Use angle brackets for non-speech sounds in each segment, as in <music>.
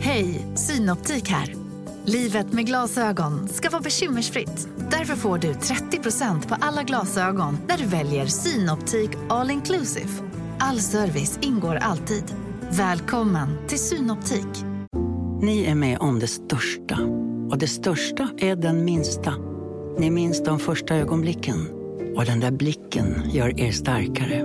Hej, Synoptik här. Livet med glasögon ska vara bekymmersfritt. Därför får du 30% på alla glasögon när du väljer Synoptik All Inclusive. All service ingår alltid. Välkommen till Synoptik. Ni är med om det största. Och det största är den minsta. Ni minns de första ögonblicken. Och den där blicken gör er starkare.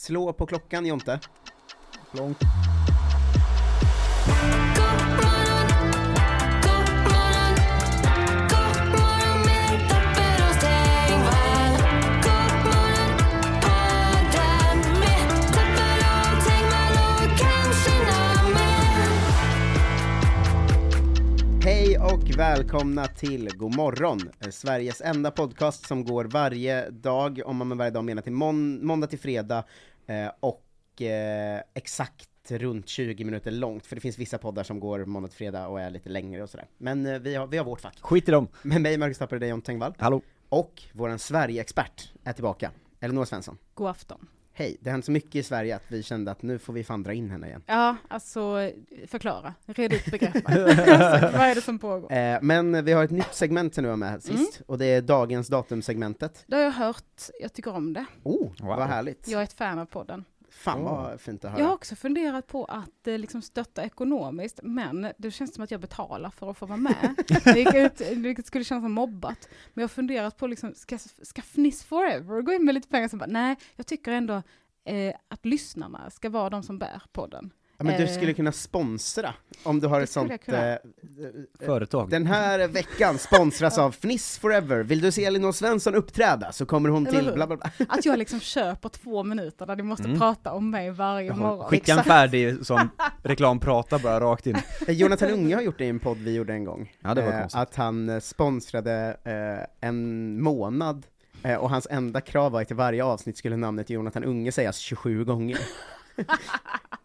Slå på klockan Jonte. Långt. Hej och välkomna till God morgon, eh, Sveriges enda podcast som går varje dag, om man med varje dag menar till mån- måndag till fredag, eh, och eh, exakt runt 20 minuter långt, för det finns vissa poddar som går måndag till fredag och är lite längre och sådär. Men eh, vi har, vi har vårt fack. Skit i dem. Med mig, Marcus Tapper, och dig, John Tengvall. Hallå. Och våran Sverige-expert är tillbaka, Elinor Svensson. God afton. Hej, det har hänt så mycket i Sverige att vi kände att nu får vi fan dra in henne igen. Ja, alltså förklara, red ut <laughs> begreppen. alltså, vad är det som pågår? Eh, men vi har ett nytt segment som du var med sist, Mm. och det är dagens datumsegmentet. Det har jag hört, jag tycker om det. Oh, Wow. vad härligt! Jag är ett fan av podden. Fan vad fint att höra. Jag har också funderat på att eh, liksom stötta ekonomiskt, men det känns som att jag betalar för att få <laughs> vara med. Det gick ut- Vilket skulle kännas som mobbat. Men jag har funderat på, liksom, ska, ska Fniss Forever gå in med lite pengar? Som bara, nej, jag tycker ändå eh, att lyssnarna ska vara de som bär podden. ja, men du eh, skulle kunna sponsra, om du har det ett skulle jag sånt... kunna. Eh, Företag. den här veckan sponsras av Fniss Forever. Vill du se Elinor Svensson uppträda så kommer hon Eller till hur? bla bla bla. Att jag liksom <laughs> köper två minuter där ni måste prata om mig varje morgon. Mm. Skicka en färdig <laughs> sån reklamprata bara rakt in. Eh, Jonathan Unge har gjort det i en podd vi gjorde en gång. Ja, det var Eh, konstigt. Att han eh, sponsrade eh, en månad, eh, och hans enda krav var att i varje avsnitt skulle namnet Jonathan Unge sägas 27 <laughs> gånger.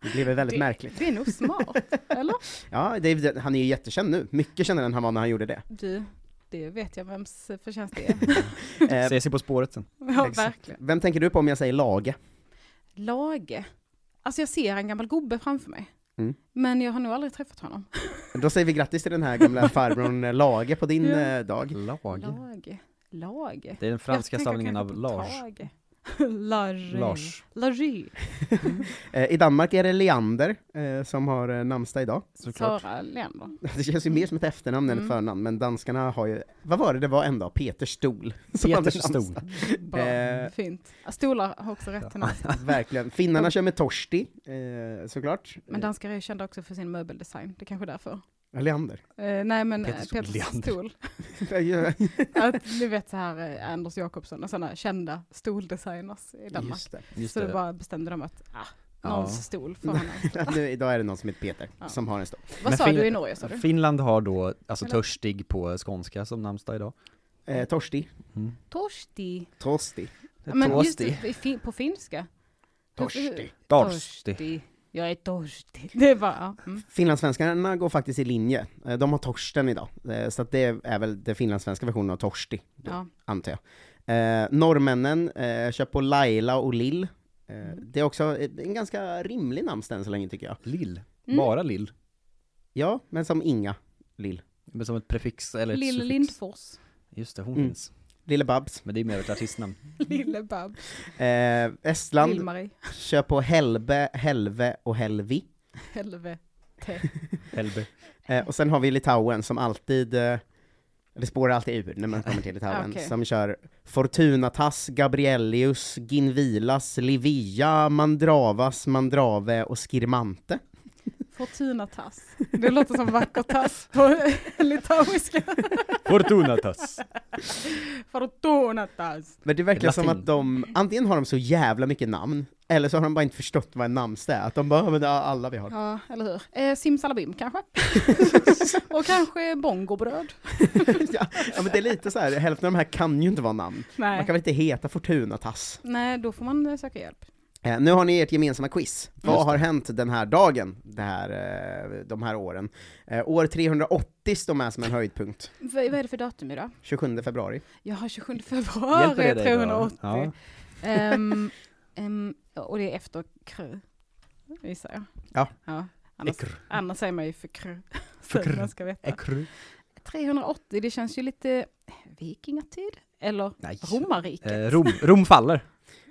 det blev väl väldigt märkligt. Det är nog smart, <laughs> eller? Ja, det, är- han är ju jättekänd nu. Mycket kändare än han var när han gjorde det. Du, det vet jag vems förtjänst det <laughs> är. Eh, Ses ju På spåret sen. Ja, Exakt. verkligen. Liksom. Vem tänker du på om jag säger Lage? Lage. Alltså jag ser en gammal gubbe framför mig. Mm. Men jag har nog aldrig träffat honom. Då säger vi grattis till den här <laughs> gamla farbrorn eh, Lage på din Ja. eh, dag. Lag. Lage. Lage. Det är den franska Jag tänker stavningen av kanske på Lars. Tage. <laughs> Large. Lars. Large. Eh, I Danmark är det Leander eh, som har eh, namnsdag idag. <laughs> Såklart. Sara Leander. Det känns ju mer som ett efternamn än ett Mm. förnamn, men danskarna har ju, vad var det det var en dag? Peter Stol. <laughs> som hade Peters stol. namnsdag. Bra. Eh. Fint. Stolar har också <laughs> rätt till namn. <laughs> Verkligen. Finnarna kör med Torsti, eh, såklart. Men danskar är ju kända också för sin möbeldesign. Det är kanske är därför. Eh, <laughs> Leander. Eh, nej men Peter Peter, Peter Leander. Stol. Att, ni vet så här eh, Anders Jakobsson och sådana kända stoldesigners i Danmark. Just det. Just så det. det. bara bestämde de att, ah, Ja. någons stol får han ha. nu, idag är det <laughs> någon som heter Peter, Ja. som har en stol. <laughs> Vad Men sa fin- du i Norge sa du? Finland har då, alltså Eller? törstig på skånska som namnsdag idag. Eh, torsti. Torsti. Torsti. Men just Torsti. det, i fin- på finska. Torsti. Torsti. Jag är torstig. Det är bara, ja, mm. Finlandssvenskarna går faktiskt i linje. Eh, De har Torsten idag, Eh, så att det är väl den finlandssvenska versionen av Torsti, då, ja. antar jag. Eh, norrmännen eh, kör på Laila och Lill. Eh, Det är också en ganska rimlig namnsdag än så länge tycker jag. Lill. Mm. Bara lill. Ja, men som Inga Lill. Men som ett prefix eller ett Lille suffix. Lindfors. Just det, hon Mm. finns. Lille Babs. Men det är mer ett artistnamn. <laughs> Lille Bab. Eh, Estland Lill-Marie. kör på Helbe, Helve och Helvi. Helvete. Helbe. Eh, och sen har vi Litauen som alltid, eh, det spårar alltid ur när man kommer till Litauen, Okej. som kör Fortunatas, Gabrielius, Ginvilas, Livia, Mandravas, Mandrave och Skirmante. <laughs> Fortuna Tass. Det låter som vacker tass på <laughs> litauiska. <laughs> Fortunatas. För att Donatas. Men det verkar som Latin. att de, antingen har de så jävla mycket namn, eller så har de bara inte förstått vad en namnsdag är, att de bara, "Ja, men det är alla vi <laughs> har. <laughs> Ja, eller hur? Eh, simsalabim kanske? och kanske bongobröd? ja, ja, men det är lite så här, hälften av de här kan ju inte vara namn. Man Nej. kan väl inte heta Fortunatas. Nej, då får man eh, söka hjälp. Eh, nu har ni ert gemensamma quiz. Vad har hänt den här dagen, det här, eh, de här åren? Eh, år 380 står med som en höjdpunkt, V- vad är det för datum idag? 27 februari. Jag har 27 februari dig då? 380. Ja. Ehm, ehm, och det är efter kr, gissar jag. Ja. Annars, annars säger man ju för <laughs> kr. För kr. Man ska veta. 380, det känns ju lite eh, vikingatid. Eller Nej. romarriket. Eh, Rom, Rom faller.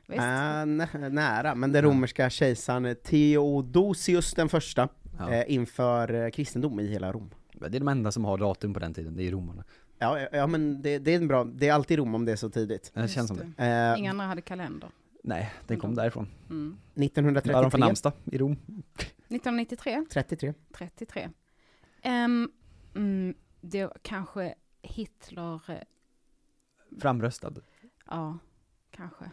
visst? Eh, nä- nära, men den romerska kejsaren Theodosius den första Ja. eh, inför eh, kristendom i hela Rom. Men Det är de enda som har datum på den tiden, det är romarna. Ja, ja, ja men det, det är en bra, det är alltid Rom om det är så tidigt. Det känns som det. Eh, Inga andra hade kalender. Nej, den kom därifrån. Mm. Vad har de för 1933, namnsdag i Rom? 1993, 33. 33. Ehm, mm, det var kanske Hitler, eh, Framröstad. ja, kanske. Mm.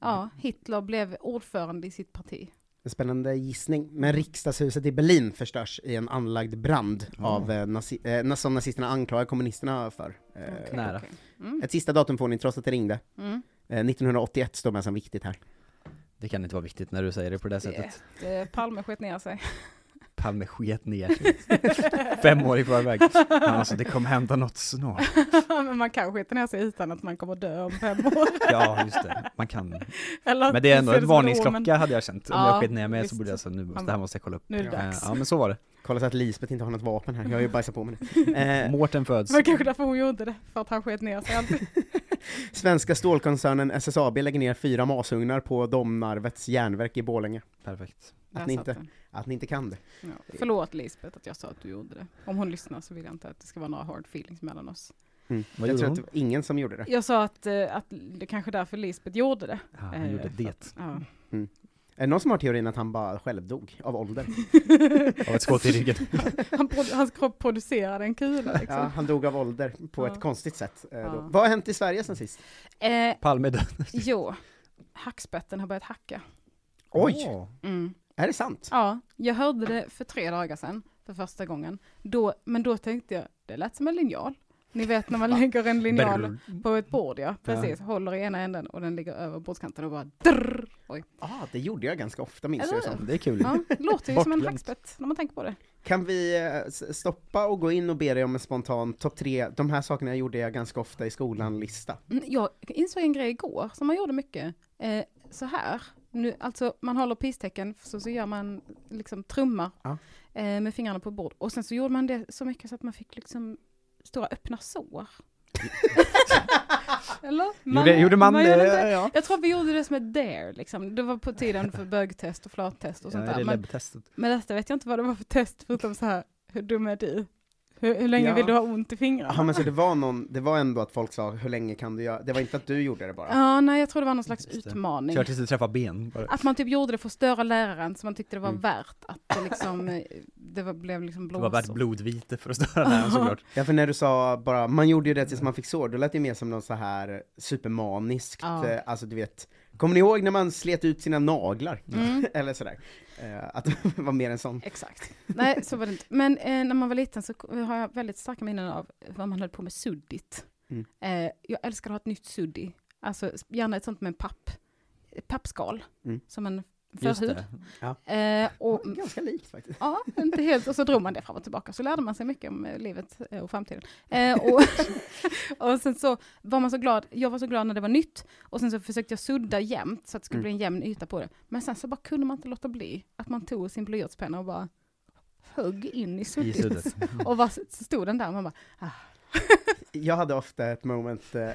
Ja, Hitler blev ordförande i sitt parti. En spännande gissning. Men riksdagshuset i Berlin förstörs i en anlagd brand av, eh, nazi- eh, na- som nazisterna anklagar kommunisterna för. Eh, Okej, nära. okej. Mm, Ett sista datum får ni trots att det ringde. mm. Eh, 1981 står med som viktigt här. Det kan inte vara viktigt när du säger det på det där Det- sättet. det- Palme sköt ner sig. <laughs> Palme sket ner sig. Fem år i förväg. Men alltså, det kommer hända något snart. Men man kan skjuta ner sig utan att man kommer dö om fem <laughs> år. Ja, just det. Man kan. Eller att Men det är ändå ser en som omen. varningsklocka hade jag känt. Om jag Ja, sket ner mig så visst. borde jag säga nu måste, det här måste jag kolla upp. Nu är det Eh, dags. Ja, men så var det. Kolla så att Lisbeth inte har något vapen här, jag har ju bajsat på mig nu. Eh, Mårten föds. Men kanske därför hon gjorde det, för att han sköt ner <laughs> sig alltid. svenska stålkoncernen SSAB lägger ner fyra masugnar på Domnarvets järnverk i Borlänge. Perfekt. Där ni satt inte- den. Att ni inte kan det. Ja. Förlåt Lisbeth att jag sa att du gjorde det. Om hon lyssnar så vill jag inte att det ska vara några hard feelings mellan oss. Mm. jag Vad gjorde tror att hon? det var ingen som gjorde det. Jag sa att, eh, att det kanske är därför Lisbeth gjorde det. Ja, han Eh, gjorde för det. Ja. Är det någon som har teorin att han bara själv dog av ålder? Av ett skott i ryggen. <laughs> Han produ- hans kropp producerade en kula liksom. Ja, han dog av ålder på Ja. ett konstigt sätt. eh, Då. Ja. Vad har hänt i Sverige sen sist? Eh, Palme är död. jo, hackspetten har börjat hacka. Oj! Åh. Mm. Är det sant? Ja, jag hörde det för tre dagar sedan för första gången. Då, men då tänkte jag, det lät som en linjal. Ni vet när man lägger en linjal på ett bord, ja. Precis, håller i ena änden och den ligger över bordskanten och bara drrr. Oj. ah, det gjorde jag ganska ofta minns jag det Eller som. Det är kul. Ja, låter ju som en Bortglömt. hackspett när man tänker på det. Kan vi eh, s- stoppa och gå in och be dig om en spontan topp tre, de här sakerna gjorde jag ganska ofta i skolan-lista? Mm, Jag insåg en grej igår som man gjorde mycket. Eh, så här, nu, alltså man håller pistecken så, så gör man liksom trummar Ja. eh, med fingrarna på bord. Och sen så gjorde man det så mycket så att man fick liksom stora <laughs> öppna sår. Eller? Gjorde, gjorde man, gjorde eh, inte det. ja. Jag tror vi gjorde det som ett dare liksom. Det var på tiden för bögtest och flattest och sånt Ja, det där. är Men, läbbtestet. men detta vet jag inte vad det var för test förutom så här, hur dum är du? Hur, hur länge Ja. vill du ha ont i fingrarna? Ja men så det var någon, det var ändå att folk sa hur länge kan du göra, det var inte att du gjorde det bara. Ja, nej jag tror det var någon slags Just det. utmaning. Kör tills du träffar ben. Bara. Att man typ gjorde det för att störa läraren så man tyckte det var Mm. värt att det liksom, eh, det var, blev liksom Det blåsor. var värt blodvite för att störa den här såklart. Ja för när du sa bara, man gjorde ju det tills man fick sår, då lät det ju mer som något så här supermaniskt, Ja. eh, alltså du vet, kommer ni ihåg när man slet ut sina naglar? Mm. <laughs> Eller sådär. Eh, att <laughs> det var mer en sån. Exakt. Nej, så var det inte. Men eh, när man var liten så har jag väldigt starka minnen av vad man höll på med suddigt. Mm. Eh, jag älskar att ha ett nytt suddi. Alltså gärna ett sånt med en papp, eh, pappskal, Mm. som en Just förhud. det. Eh, och Ganska likt faktiskt. Ja, inte helt. Och så drog man det fram och tillbaka. Så lärde man sig mycket om eh, livet eh, och framtiden. Eh, och, <laughs> och sen så var man så glad. Jag var så glad när det var nytt. Och sen så försökte jag sudda jämnt så att det skulle Mm. bli en jämn yta på det. Men sen så bara kunde man inte låta bli. Att man tog sin blyertspenna och bara högg in i I suddet. suddet. <laughs> Och var, så stod den där och man bara, Jag hade ofta ett moment, eh, eh,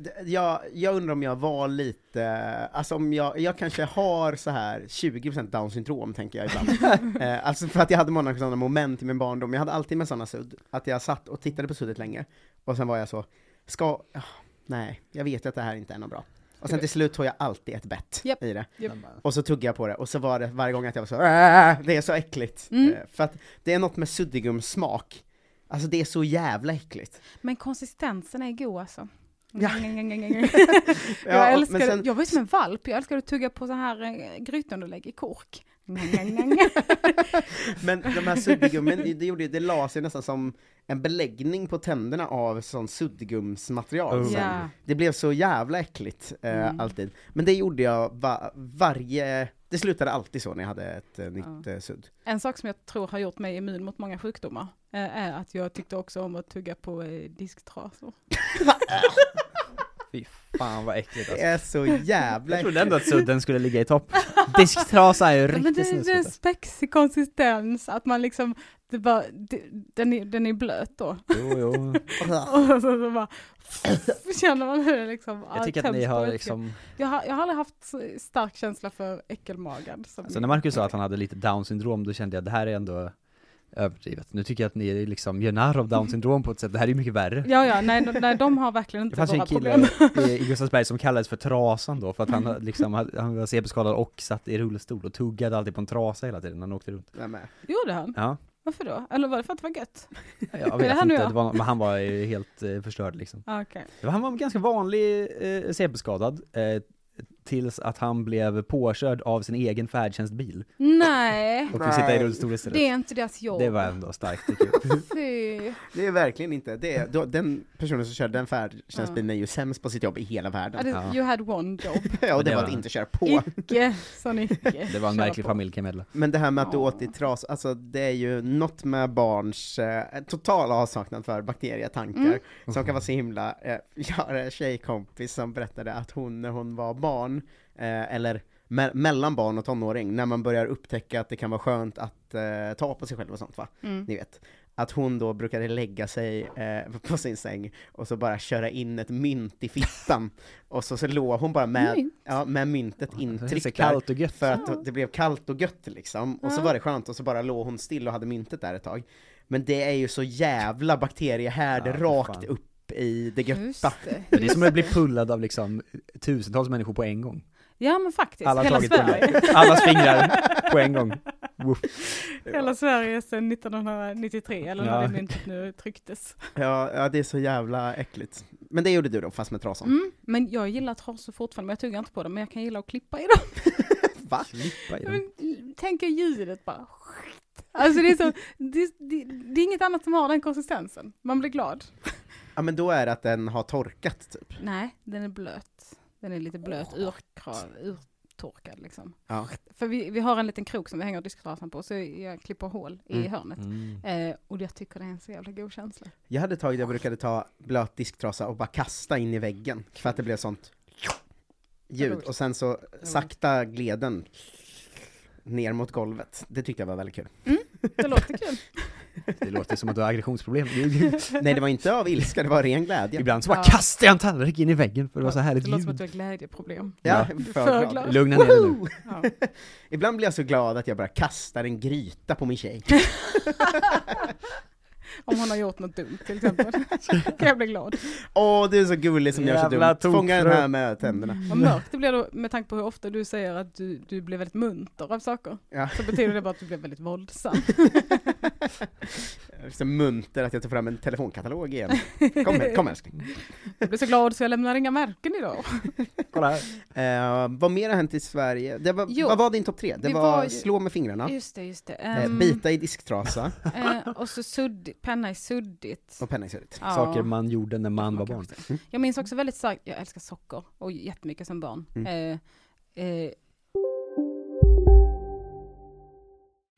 d- jag, jag undrar om jag var lite, eh, alltså om jag, jag kanske har så här 20% down syndrom tänker jag <laughs> ibland. eh, alltså för att jag hade många sådana moment i min barndom, jag hade alltid med sådana sudd, att jag satt och tittade på suddet länge, och sen var jag så, ska, ah, nej, jag vet ju att det här inte är något bra. Och sen till slut tog jag alltid ett bett Japp. i det. Japp. Och så tuggade jag på det, och så var det varje gång att jag var så "Äh, det är så äckligt. Mm. Eh, För att det är något med suddigumssmak. Alltså det är så jävla äckligt. Men konsistensen är god alltså. <laughs> <laughs> Ja. jag, Ja, och- älskar, men sen- jag var ju som en valp, jag älskar att tugga på så här eh, grytunderlägg <laughs> i kork. Men de här suddgummin, det- det, gjorde, ju- det la sig nästan som en beläggning på tänderna av sån suddgumsmaterial. Oh. sen. Ja. Det blev så jävla äckligt eh, alltid. Men det gjorde jag va- varje, det slutade alltid så när jag hade ett eh, nytt eh, sudd. En sak som jag tror har gjort mig immun mot många sjukdomar eh, är att jag tyckte också om att tugga på eh, disktrasor. Fy fan vad äckligt Det alltså. är så jävla Jag äckligt. trodde ändå att sudden skulle ligga i topp. Disktrasa är ju Ja, Men riktigt det, det är snuskigt. alltså. spexig konsistens, att man liksom, det bara, det, den, är, den är blöt då. <laughs> Jo, jo. Och så, så bara, <laughs> känner man hur det liksom Jag tycker att ni töms på har vätska. liksom, Jag har, jag har aldrig haft så stark känsla för äckelmagad. Som alltså när Marcus sa att han hade lite down syndrom, då kände jag att det här är ändå överdrivet. Nu tycker jag att ni liksom gör narr av down syndrom på ett sätt, det här är ju mycket värre. Ja, ja, nej, de- nej, de har verkligen Det inte fanns ju våra en problem. <laughs> kille i i Gustavsberg som kallades för Trasan då, för att han liksom, hade- han var CP-skadad och satt i rullstol och tuggade alltid på en trasa hela tiden när han åkte runt. Nej, men, Gjorde han? Ja, Varför då? Eller var det för att det var gött? jag det vet han och inte, jag? det var, men han var ju helt eh, förstörd liksom. Ah, Okej. Det var- Han var en ganska vanlig eh, CP-skadad, eh, tills att han blev påkörd av sin egen färdtjänstbil Nej, <laughs> och fick sitta i Nej. rullstol det istället. är inte deras jobb. Det var ändå starkt tycker jag. <laughs> Fy. det är verkligen inte, det är, då, den personen som körde den färdtjänstbilen är ju sämst på sitt jobb i hela Ja, världen. det- Ja. You had one <laughs> job. Ja, och det det var var- att inte köra på. Icke, sa Nicke. Det var en Köra märklig på. familj kan jag meddela. Men det här med att du Ja. åt i tras, alltså det är ju något med barns eh, totala avsaknad för bakterietankar Mm. som kan vara så himla, eh, <laughs> jag har en tjejkompis som berättade att hon när hon var barn, eh, eller me- mellan barn och tonåring, när man börjar upptäcka att det kan vara skönt att eh, ta på sig själv och sånt va? Mm. Ni vet. Att hon då brukade lägga sig eh, <laughs> på sin säng och så bara köra in ett mynt i fittan. och så, så låg hon bara med, Mynt? Ja, med myntet Det är så intryckt där. kallt och gött. För att det blev kallt och gött liksom, och så var det skönt och så bara låg hon still och hade myntet där ett tag. Men det är ju så jävla bakteriehärd Ja, för rakt fan. upp i det Just götta. det. Men det är som att bli pullad av liksom tusentals människor på en gång. Ja men faktiskt, Alla har hela tagit på Sverige. den. Allas fingrar på en <laughs> gång. Woof. Hela Sverige sedan 1993, eller när Ja. det myntet nu trycktes. Ja, ja, det är så jävla äckligt. Men det gjorde du då, fast med trasan? Mm. Men jag gillar trasor fortfarande, men jag tuggar inte på dem, men jag kan gilla att klippa i dem. Va? Klippa i Ja, dem. Men, l- tänk er ljudet bara. Alltså det är så, det, det, det är inget annat som har den konsistensen. Man blir glad. Ja men då är det att den har torkat typ. Nej, den är blöt. Den är lite blöt, urkrav, urtorkad liksom. Ja. För vi, vi har en liten krok som vi hänger disktrasan på, så jag klipper hål i Mm. hörnet. Eh, och jag tycker det är en så jävla god känsla. <laughs> Jag hade tagit, jag brukade ta blöt disktrasa och bara kasta in i väggen, för att det blev sånt ljud. Och sen så sakta gled den ner mot golvet. Det tyckte jag var väldigt kul. Det låter kul. Det låter som att du har aggressionsproblem. Nej det var inte av ilska, det var ren glädje. Ibland så bara <laughs> Ja. kastar jag en tallrik in i väggen för det var så det härligt låter som att ljud. du har glädjeproblem. Ja, Ja. för För glad. glad. jag- Lugna ner dig nu. Ja. Ibland blir jag så glad att jag bara kastar en gryta på min tjej. Om hon har gjort något dumt till exempel. <laughs> <laughs> kan jag bli glad. Åh, du är så gullig som Jävla gör så dumt. Fånga den tokfrö. här med tänderna. Vad mörkt det blir då med tanke på hur ofta du säger att du, du blev väldigt munter av saker. Ja. Så betyder det bara att du blev väldigt våldsam. Jag är Så munter att jag tar fram en telefonkatalog igen. Kom, här, kom älskling. <laughs> Jag blev så glad så jag lämnar inga märken idag. Kolla här. Eh, vad mer har hänt i Sverige? Det var, Jo. vad var din topp tre? Det Vi var, var ju- slå med fingrarna, Just det, just det. eh, Ehm, bita i disktrasa eh, och så sudd, penna i suddigt. och penna i sudd. Ja. Saker man gjorde när man var barn. Jag minns också väldigt starkt, jag älskar socker och jättemycket som barn. Mm. Eh, eh,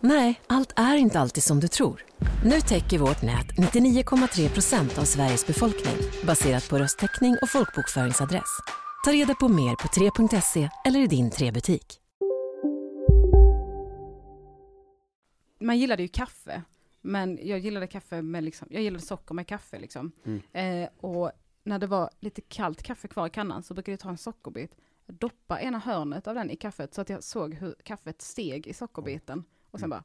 Nej, allt är inte alltid som du tror. Nu täcker vårt nät 99,3 procent av Sveriges befolkning baserat på röstteckning och folkbokföringsadress. Ta reda på mer på 3.se eller i din 3-butik. man gillade ju kaffe, men jag gillade kaffe med liksom, jag gillade socker med kaffe liksom. Eh, och när det var lite kallt kaffe kvar i kannan så brukade jag ta en sockerbit, doppa ena hörnet av den i kaffet så att jag såg hur kaffet steg i sockerbiten och sen bara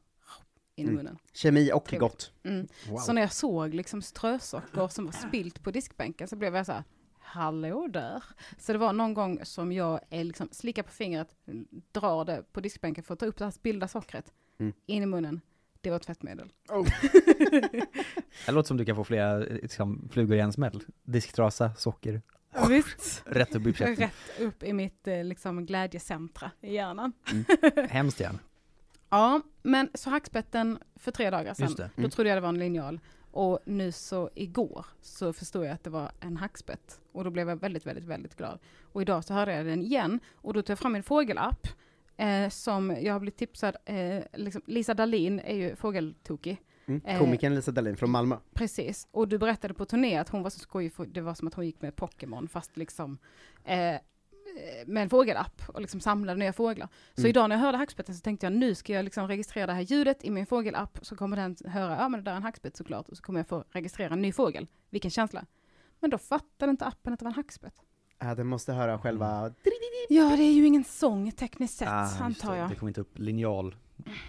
in i munnen. Kemi och Trevligt. gott. Mm. Så när jag såg liksom strösocker som var spilt på diskbänken så blev jag så här, hallå där. Så det var någon gång som jag eh, liksom slickar på fingret, drar det på diskbänken för att ta upp det här spillda sockret, in i munnen. Det var tvättmedel. Det låter som du kan få flera eh, liksom, flugor i en smäll. Disktrasa, socker, <laughs> Visst. rätt upp i käften. Rätt upp i mitt eh, liksom, glädjecentra i hjärnan. Hemskt igen. Ja, men så hackspetten för tre dagar sedan, Just det. Mm. då trodde jag det var en linjal. Och nu så igår så förstod jag att det var en hackspett. Och då blev jag väldigt, väldigt, väldigt glad. Och idag så hörde jag den igen och då tog jag fram min fågelapp. Eh, som jag har blivit tipsad, eh, liksom, Lisa Dahlin är ju fågeltokig. Mm. Eh, Komikern Lisa Dahlin från Malmö. Precis, och du berättade på turné att hon var så skojig, för det var som att hon gick med Pokémon fast liksom eh, med en fågelapp och liksom samlade nya fåglar. Så idag när jag hörde hackspetten så tänkte jag nu ska jag liksom registrera det här ljudet i min fågelapp så kommer den höra, ja men det där är en hackspett såklart och så kommer jag få registrera en ny fågel. Vilken känsla. Men då fattade inte appen att det var en hackspett. Äh, den måste höra själva... Ja det är ju ingen sång tekniskt sett Ah, just antar det. jag. det kom inte upp linjal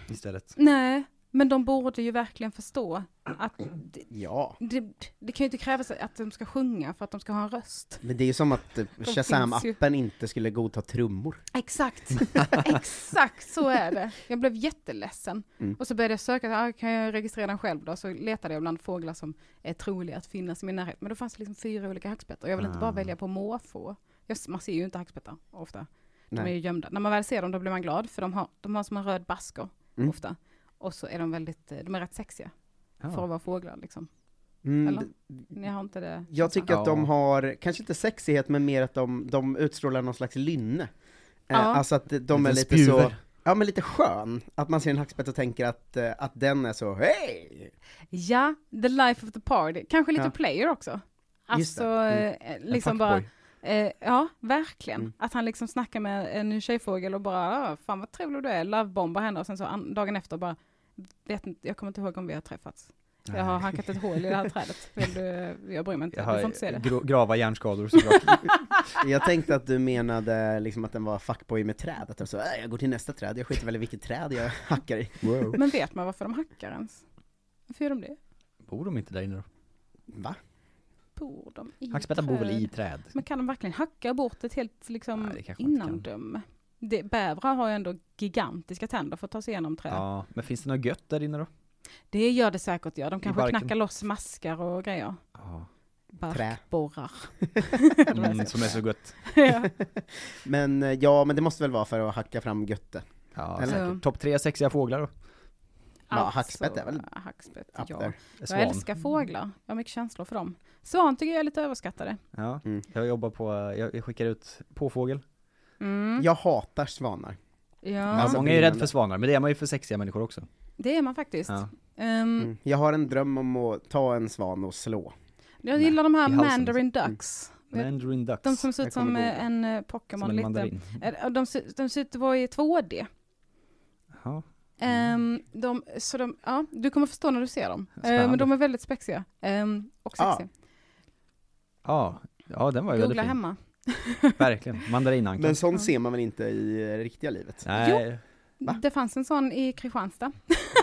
istället. Nej, men de borde ju verkligen förstå att det, Ja. det, det kan ju inte krävas att de ska sjunga för att de ska ha en röst. Men det är ju som att eh, finns Shazam-appen inte skulle godta trummor. Exakt, <laughs> exakt så är det. Jag blev jätteledsen. Mm. Och så började jag söka, ah, kan jag registrera den själv då? Så letade jag bland fåglar som är troliga att finnas i min närhet. Men då fanns det liksom fyra olika hackspettar. Jag vill inte bara Ah. välja på måfå. Jag, man ser ju inte hackspettar ofta. De Nej. är ju gömda. När man väl ser dem då blir man glad, för de har, de har som en röd basker Mm. ofta. Och så är de väldigt, eh, de är rätt sexiga. För att vara fåglar liksom. Mm, Eller? Ni har inte det? Jag tycker att de har, kanske inte sexighet, men mer att de, de utstrålar någon slags lynne. Ja. Eh, alltså att de är Liten lite så, spjuver. ja men lite skön. Att man ser en hackspett och tänker att, eh, att den är så, hej! Ja, the life of the party. Kanske lite Ja. player också. Just det. Alltså, Mm. eh, liksom bara, fuckboy. eh, ja, verkligen. Mm. Att han liksom snackar med en ny tjejfågel och bara, "Ah, fan vad trevlig du är, lovebombar henne och sen så an- dagen efter bara, vet inte, jag kommer inte ihåg om vi har träffats. Jag har hackat ett hål i <laughs> det här trädet, Vill du, jag bryr mig inte, Jag du får har inte se det. gro- grava hjärnskador såklart. <laughs> Jag tänkte att du menade liksom att den var fuckboy med träd, att de så, "Äh, jag går till nästa träd, jag skiter väl i vilket träd jag <laughs> hackar i. Men vet man varför de hackar ens? Varför gör de det? Bor de inte där inne då? Va? Bor de i Hackspettar bor väl i träd? träd? Men kan de verkligen hacka bort ett helt liksom Nej, det kanske man inte kan. innandöme? Det- Bävrar har ju ändå gigantiska tänder för att ta sig igenom träd. Ja, men finns det något gött där inne då? Det gör det säkert, ja. De kanske barken. knackar loss maskar och grejer. Ja. Barkborrar. Mm, som är så gött. ja. <laughs> Men eh, ja, men det måste väl vara för att hacka fram götte. Ja, Eller- säkert. Topp tre sexiga fåglar då? Ja, hackspett är väl Alltså, Hackspett, up ja. there. Svan. Jag älskar fåglar. Jag har mycket känslor för dem. Svan tycker jag är lite överskattade. Ja, Mm. jag jobbar på, jag jag skickar ut påfågel. Mm. Jag hatar svanar. Ja, Ja, Alltså, många är ju rädda för brinnande. svanar, men det är man ju för sexiga människor också. det är man faktiskt. Ja. Ehm, Mm. Jag har en dröm om att ta en svan och slå. jag gillar de här i halsen. Mm. Mandarin Ducks. Mandarin ducks. De som ser ut Jag kommer som gå- eh, en eh, som Pokémon en lite. mandarin. Eh, De, ser- de ser ut att vara i 2D. Ja. Ehm, de, så de, ja, du kommer förstå när du ser dem. Ehm, Spännande. men de är väldigt spexiga. Ehm, och Ah, sexiga. Ja, ja den var ju Googla väldigt fin. hemma. Verkligen. Mandarinankan. Men sån ser man väl inte i eh, riktiga livet? Nej, Va? Det fanns en sån i Kristianstad.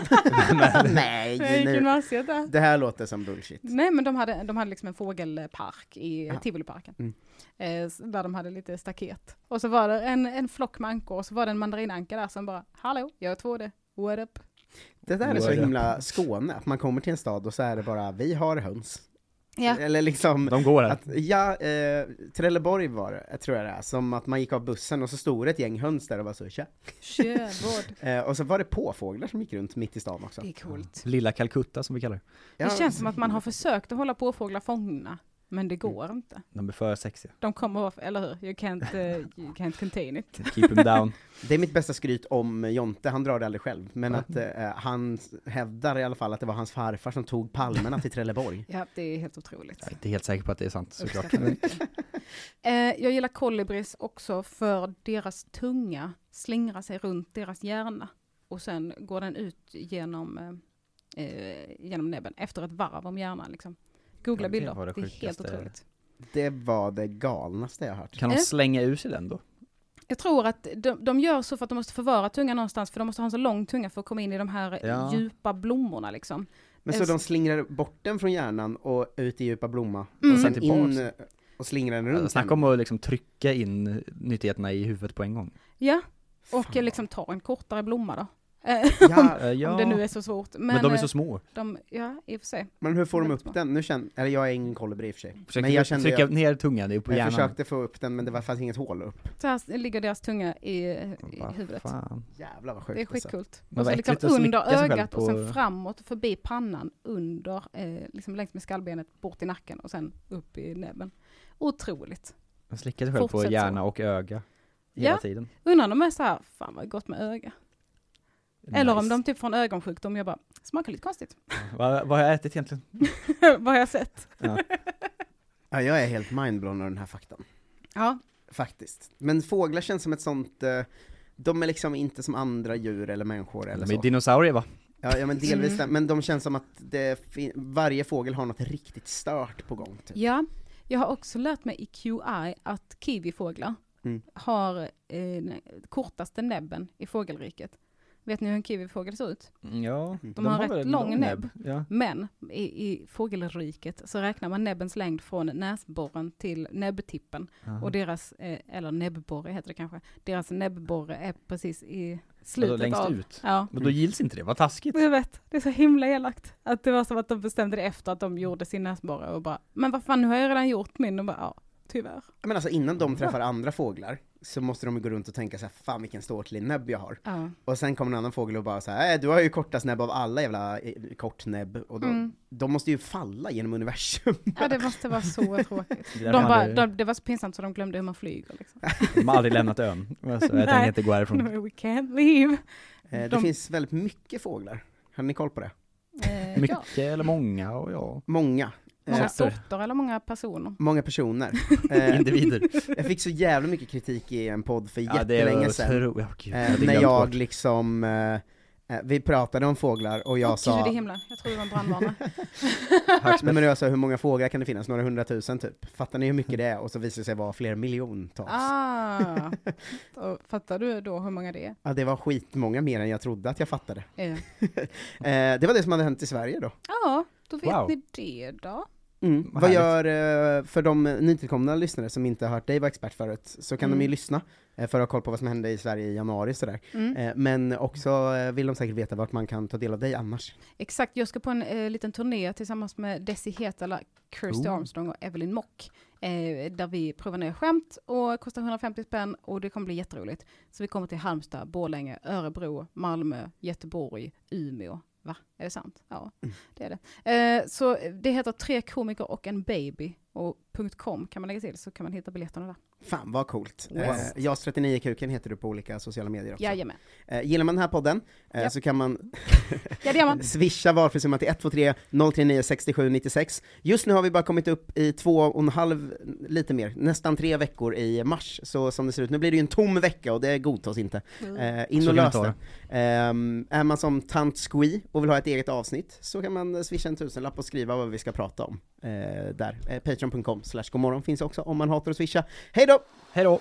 <laughs> <laughs> Nej, Jag gick nu. gymnasiet där. Det här låter som bullshit. Nej men de hade, de hade liksom en fågelpark i Ja. Tivoliparken. Mm. Eh, s- där de hade lite staket. Och så var det en, en flock med ankor och så var det en mandarinanka där som bara Hallå, jag är 2D, what up? Det där är så Word up. himla Skåne, att man kommer till en stad och så är det bara, vi har höns. Ja, Eller liksom, de går här. att, ja, eh, Trelleborg var det, eh, tror jag det är, som att man gick av bussen och så stod det ett gäng höns där och var så, tja. <laughs> körvård. Eh, och så var det påfåglar som gick runt mitt i stan också. Det är coolt. Lilla Calcutta som vi kallar det. Ja, Det känns som att man har försökt att hålla påfåglar fångna Men det går inte. De är för sexiga. De kommer vara, eller hur? You can't, eh, you can't contain it. Keep them down. Det är mitt bästa skryt om Jonte, han drar det aldrig själv, men att eh, han hävdar i alla fall att det var hans farfar som tog palmerna till Trelleborg. Ja, det är helt otroligt. Jag är inte helt säker på att det är sant såklart. Uppskattar mycket. Eh, jag gillar kolibris också för deras tunga slingrar sig runt deras hjärna och sen går den ut genom, eh, eh, genom näbben efter ett varv om hjärnan. Liksom. Googla Ja, det bilder, var det det, är helt sjukaste. otroligt. Det var det galnaste jag hört. Kan Eh. de slänga ur sig den då? Jag tror att de, de gör så för att de måste förvara tungan någonstans, för de måste ha en så lång tunga för att komma in i de här eh, Ja. djupa blommorna liksom. Men så Just- de slingrar bort den från hjärnan och ut i djupa blomma, Mm. och sen Sen tillbaks. in eh, och slingrar den Alltså, runt. snacka om att liksom trycka in nyttigheterna i huvudet på en gång. Ja, och Fan. liksom ta en kortare blomma då. Eh, Ja, Eh, ja. Om det nu är så svårt. Men, men, de är eh, så små. de, ja, i och för sig. men hur får de upp Väldigt den? Nu känner, eller jag är ingen kolibri i och för sig. Försökte men jag kände, trycka jag, ner tungan upp på jag hjärnan. försökte få upp den men det var, fanns inget hål upp. Så här ligger deras tunga i, i Vad huvudet. Fan. Jävlar vad sjukt. Det är alltså. skitcoolt. Men Och så vad liksom äckligt att under slicka sig själv ögat och sen på- framåt, förbi pannan, under, eh, liksom längs med skallbenet, bort i nacken och sen upp i näbben. Otroligt. Man slickar sig själv på Fortsätt så. hjärna och öga. Hela Ja. tiden. Undrar om de är så här, fan vad gott med öga. Eller om Nice. de typ får en ögonsjukdom, jag bara, smakar lite konstigt. <laughs> Vad, vad har jag ätit <laughs> egentligen? vad har jag sett? Ja, jag är helt mindblown av den här faktan. Ja, Faktiskt. Men fåglar känns som ett sånt, eh, de är liksom inte som andra djur eller människor eller De är så. dinosaurier va? Ja, ja men delvis Mm. det. men de känns som att det fin- varje fågel har något riktigt stört på gång typ. ja. Jag har också lärt mig i QI att kiwifåglar Mm. har eh, den kortaste näbben i fågelriket. Vet ni hur en kiwifågel ser ut? Mm, Ja, Mm. De har väl rätt en lång näbb. Ja. Men i, i fågelriket så räknar man näbbens längd från näsborren till näbbtippen. Aha. Och deras, eh, eller näbbborre heter det kanske, deras näbbborre är precis i Vadå, slutet längst av... ut? Ja. Men då gills inte det, vad taskigt. Jag vet, det är så himla elakt. Att det var som att de bestämde det efter att de gjorde sin näsborre och bara, men vad fan, nu har jag redan gjort min. Och bara, ja, tyvärr. Men alltså innan de träffar andra fåglar så måste de ju gå runt och tänka så här, fan vilken ståtlig näbb jag har. Ja. Och sen kommer en annan fågel och bara så här, äh, du har ju kortast näbb av alla jävla eh, kort näbb. Och de, Mm. de måste ju falla genom universum. <laughs> ja, det måste vara <laughs> så tråkigt. Det är därför De bara, aldrig- de, det var så pinsamt så de glömde hur man flyger. Liksom. <laughs> De har aldrig lämnat ön. Alltså, jag tänker Nej. inte gå härifrån. No, we can't leave. Eh, det De- finns väldigt mycket fåglar. Har ni koll på det? Eh, <laughs> ja. Mycket eller många och ja. Många. Många Eh, sorter eller många personer. många <laughs> personer. Eh, <laughs> Individer. jag fick så jävla mycket kritik i en podd för Ja, det är jättelänge sedan. otro- ja, gud, jag Eh, hade när glömt jag bort. liksom, eh, eh, vi pratade om fåglar och jag Åh, sa, Gud i himlen, jag tror det var <laughs> en brandvarnare. nej, men jag sa hur många fåglar kan det finnas? Några hundratusen typ. Fattar ni hur mycket det är? Och så visade det sig vara flera miljontals. ah, Då fattar du då hur många det är? Ja, det var skitmånga mer än jag trodde att jag fattade. Eh, Eh, det var det som hade hänt i Sverige då. Ja, då vet Wow. ni det då. Mm. Vad Vad gör, eh, för de nytillkomna lyssnare som inte har hört dig vara expert förut, så kan de ju Mm. lyssna eh, för att ha koll på vad som hände i Sverige i januari sådär. Mm. Eh, Men också eh, vill de säkert veta vart man kan ta del av dig annars. Exakt, jag ska på en eh, liten turné tillsammans med Desi Hetala, Kirsty Oh. Armstrong och Evelyn Mock. Eh, där vi provar nya skämt och kostar 150 spänn och det kommer bli jätteroligt. Så vi kommer till Halmstad, Borlänge, Örebro, Malmö, Göteborg, Umeå. Va? Är det sant? Ja, det är det. Eh, så det heter Tre komiker och en baby och .com kan man lägga till så kan man hitta biljetterna där. Fan vad coolt. Wow. Eh, JAS 39-kuken heter du på olika sociala medier också. Jajamän. Eh, Gillar man den här podden eh, Ja. så kan man Ja, det gör man. swisha valfri summa till 123 039 67 96. Just nu har vi bara kommit upp i två och en halv, lite mer, nästan tre veckor i mars. Så som det ser ut, nu blir det ju en tom vecka och det godtas inte. Eh, in Så och kan lös vi ta det. Ehm, är man som tant Squee och vill ha ett eget avsnitt så kan man swisha en tusenlapp och skriva vad vi ska prata om. Eh, där. Eh, Patreon.com slash godmorgon finns också om man hatar att swisha. Hej då! Hej då!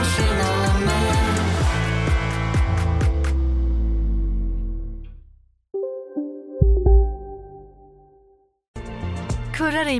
Kanske kurrar det i